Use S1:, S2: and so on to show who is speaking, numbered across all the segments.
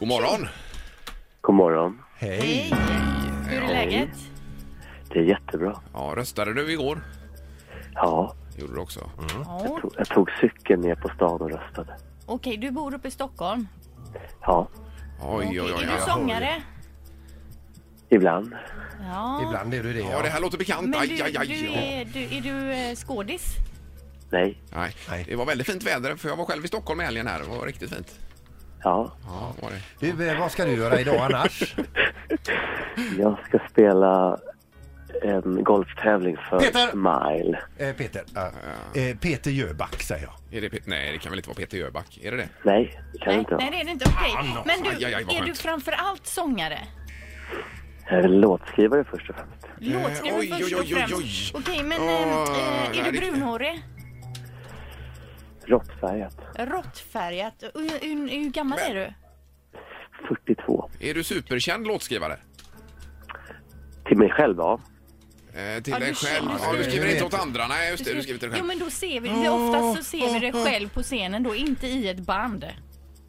S1: morgon!
S2: God morgon.
S3: Hej! Hur är läget?
S2: Det är jättebra.
S1: Ja, röstade du igår?
S2: Ja,
S1: Gjorde du också?
S3: Mm. Ja.
S2: jag tog cykeln ner på stan och röstade.
S3: Okej, du bor uppe i Stockholm.
S2: Ja,
S1: Oj, oj, oj.
S3: Okej, Är du
S1: oj.
S3: sångare?
S2: ibland.
S3: Ja.
S4: Ibland är du det,
S1: Ja, det här låter bekant.
S3: Men du,
S1: Aj, aj,
S3: du
S1: aj.
S3: är, du, är du eh, skådis?
S2: Nej.
S1: Nej.
S4: Nej.
S1: Det var väldigt fint väder, för jag var själv i Stockholm i helgen här. Det var riktigt fint.
S2: Ja,
S1: Ja, var det.
S4: Du, eh, vad ska du göra idag annars?
S2: jag ska spela en golftävling för
S4: Peter!
S2: Mile.
S4: Eh, Peter. ja. Eh, Peter Jöback säger jag.
S1: Är det Pe- Nej, det kan väl inte vara Peter Jöback? Är det det?
S2: Nej, det kan jag
S3: Nej,
S2: inte
S3: nej,
S2: vara.
S3: det är det inte. Okej. Men du,
S1: aj, aj, aj, vad
S3: är du
S1: skönt.
S3: framför allt sångare?
S2: Jag är låtskrivare först och främst.
S3: Låtskrivare
S1: Eh, oj,
S3: först och
S1: oj, oj,
S3: främst.
S1: oj. Ah,
S3: Okej, men
S1: Åh,
S3: eh,
S1: nej,
S3: är du
S1: det-
S3: brunhårig?
S2: Råttfärgat.
S3: Råttfärgat? Och Hur, hur, hur gammal är du?
S2: 42.
S1: Är du superkänd låtskrivare?
S2: Till mig själv, ja.
S1: Eh, till
S3: Ja,
S1: dig själv?
S3: du känner-
S1: Ja, du skriver
S4: Jag
S1: inte
S4: vet.
S1: åt andra? Nej, just det. Du skriver till dig
S3: Jo,
S1: själv. Ah.
S3: men då ser vi det. Oftast så ser vi det själv på scenen då, inte i ett band.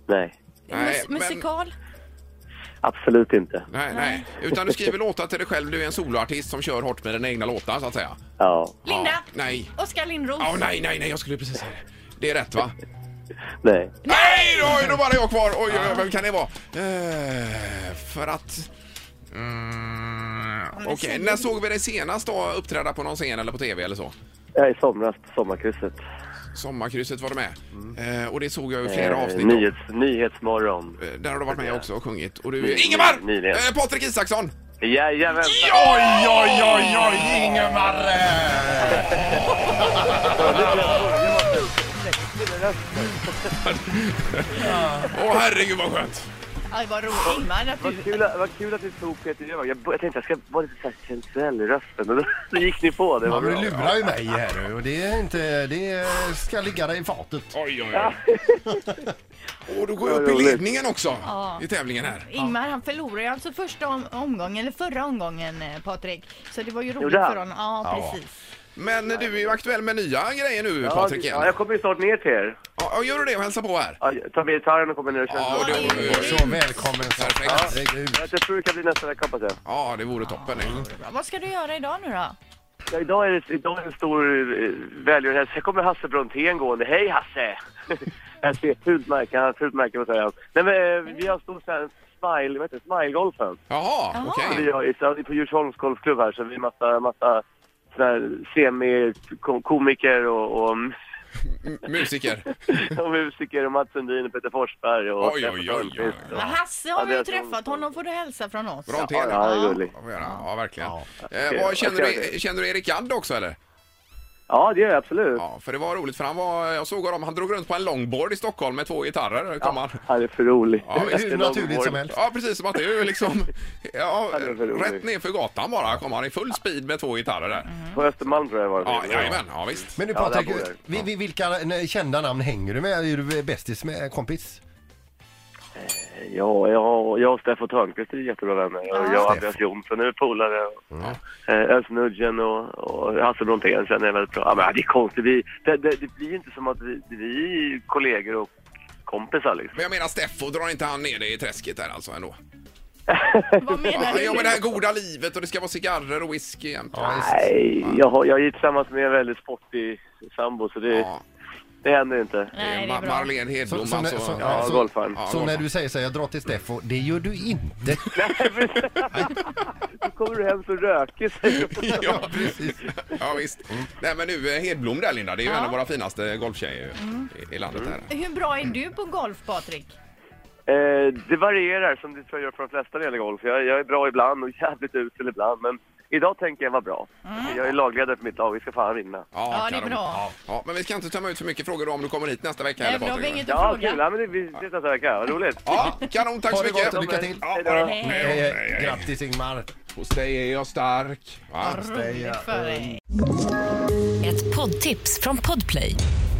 S2: Nej,
S1: Nej,
S3: Mus-
S1: men-
S3: musikal?
S2: absolut inte.
S1: Nej, nej. Utan du skriver låtar till dig själv. Du är en soloartist som kör hårt med dina egna låtar, så att säga.
S2: Ja,
S3: Linda?
S1: Ja, nej.
S3: Oskar Lindros?
S1: Ja, nej, nej, nej. Jag skulle precis säga det. Det är rätt, va?
S2: nej.
S1: Nej, Ah. då är det bara jag kvar. Oj, oj, oj, vem kan det vara? Eh, för att... Mm, Okej, när såg vi dig senast då uppträda på någon scen eller på tv eller så?
S2: Jag är i somras på sommarkrysset.
S1: Sommarkrysset var du med. Eh, och det såg jag i flera
S2: Eh,
S1: avsnitt.
S2: nyhets, nyhetsmorgon.
S1: Eh, Där har du varit med också och sjungit. Och du
S2: Ny-
S1: är Ingemar!
S2: ny- nyligen.
S1: Eh, Patrik Isaksson!
S2: Jajamensan!
S1: Oj, oj, oj, oj, Ingemar! Åh, herregud vad skönt!
S3: Aj, vad roligt. Ingmar, att
S2: Vad
S3: du...
S2: kul, att- vad kul att ni tog Peter Jöback. Jag, bör- jag tänkte jag ska vara lite så här sensuell i rösten. Men då gick ni på. Det
S4: Ja,
S2: var
S4: men
S2: bra.
S4: du lurar ju mig här nu och det är inte... Det ska ligga dig i fatet.
S1: Oj, oj, oj. Och du går jag
S2: Vad
S1: upp i
S2: roligt.
S1: ledningen också
S3: Ja.
S1: i tävlingen här.
S3: Ingmar han förlorade ju alltså första om- omgången, eller förra omgången eh, Patrik. Så det var ju roligt
S2: Gjorde han?
S3: för honom. Ja, precis. Men
S1: Men du är ju aktuell med nya grejer nu,
S2: Ja,
S1: Patrik.
S2: ja, jag
S1: igen.
S2: kommer ju snart ner till er.
S1: Ja, gör du det och hälsa på här.
S2: Ja, jag tar med gitarren och kommer ner och kör.
S1: Ja,
S2: en låt.
S1: det vore,
S4: Så välkommen så.
S1: Perfekt.
S4: Herregud.
S2: Jag tror det kan bli nästa vecka hoppas jag.
S1: ja, det vore toppen. det.
S3: bra. Vad ska du göra idag nu då?
S2: Ja, idag, är det, idag är det en stor eh, välgörenhet. Sen kommer Hasse Brontén gående. Hej Hasse! Jag ser ett fult märke, han har ett fult märke på sig. Nej men eh, vi har en stor sån här smile, vad heter det, smile-golfen.
S1: Jaha, okej.
S2: Vi har i- så- på Djursholms golfklubb här så vi är massa, massa såna här semi-komiker och, och,
S1: M- Musiker.
S2: och musiker och Mats Sundin och Peter Forsberg och
S1: Oj, oj, oj, oj, oj.
S2: Ja,
S3: Men Hasse
S2: Ja,
S3: har vi
S2: det
S3: ju
S2: är så-
S3: träffat, honom får du hälsa från oss.
S1: Brontén.
S2: ja, han är gullig.
S1: Ja, får göra. ja, verkligen.
S4: Ja.
S1: Eh, vad, känner,
S2: Okej,
S1: du,
S2: okej.
S1: känner du Erik Gadd också eller?
S2: Ja, det gör jag absolut.
S1: Ja, för det var roligt för han var, jag såg honom, han drog runt på en longboard i Stockholm med två gitarrer. Kom han.
S2: Han är för rolig.
S1: Ja,
S4: Hur, hur naturligt som helst.
S1: Ja, precis som att det är ju liksom... Ja,
S2: Ja, det är för roligt.
S1: rätt ner för gatan bara kom han i full speed med två gitarrer där.
S2: På Östermalm tror jag det var.
S1: Ja, jajamän, ja visst.
S4: Men du
S2: Ja, där
S4: Patrik,
S2: bor jag.
S4: vi- vi- vilka n- kända namn hänger du med? Är du eh, bästis med kompis?
S2: Ja, jag, jag och Steffo Törnqvist är jättebra vänner. Och jag och
S4: Steff.
S2: Andreas Jonsson är polare.
S1: Ja.
S2: Eh, Özz Nudgen och, och Hasse Brontén känner jag väldigt bra. Ja, men det är konstigt. Vi, det, det, det blir inte som att vi, vi är kollegor och kompisar liksom.
S1: Men jag menar Steffo, drar inte han ner dig i träsket där alltså ändå?
S3: Vad menar
S1: Ja,
S3: du?
S1: ja, men det här goda livet och det ska vara cigarrer och whisky jämt.
S4: Ja, visst.
S2: Nej, jag, har, jag är tillsammans med en väldigt sportig sambo så det,
S1: Ja,
S2: det händer inte.
S1: det
S3: Nej,
S1: är
S3: det är
S1: Ma-
S3: bra.
S1: Marlene
S4: Så,
S1: Hedblom
S4: så,
S1: alltså.
S4: så, så,
S2: Ja,
S4: så,
S2: golfaren.
S1: Ja,
S4: så när
S1: golfaren.
S4: du säger så här, jag drar till Steffo, det gör du inte.
S2: Då kommer du hem så rökig säger du.
S1: Ja, precis. Ja, visst. Nej, men nu eh, Hedblom där, Linda, det är ju en av våra finaste golftjejer ju i- i landet här.
S3: Hur bra är du på golf Patrik?
S2: Eh, det varierar som det tror jag gör för de flesta när det gäller golf. Jag, jag är bra ibland och jävligt usel ibland. Men idag tänker jag vara bra. Jag är lagledare för mitt lag. Vi ska fan vinna.
S3: Ja, det är
S1: kanon.
S3: bra.
S1: Ja, men vi ska inte tömma ut för mycket frågor då om du kommer hit nästa vecka.
S3: Nej,
S1: eller
S3: men då har vi
S1: Patrik.
S3: inget
S2: Ja,
S3: att
S2: kul.
S3: fråga.
S2: Ja, men det, vi ses nästa vecka. Vad roligt.
S1: Ja, kanon. Tack
S4: Ha
S1: så
S4: det
S1: mycket.
S4: gott och lycka till.
S1: Ja,
S2: Hej då.
S1: ha det bra.
S3: Hej.
S1: Hej,
S4: Eh,
S1: hej,
S4: eh,
S1: hej.
S4: Grattis Ingmar!
S1: Hos dig är jag stark. Va?
S3: Roligt för dig.
S5: Ett poddtips från Podplay.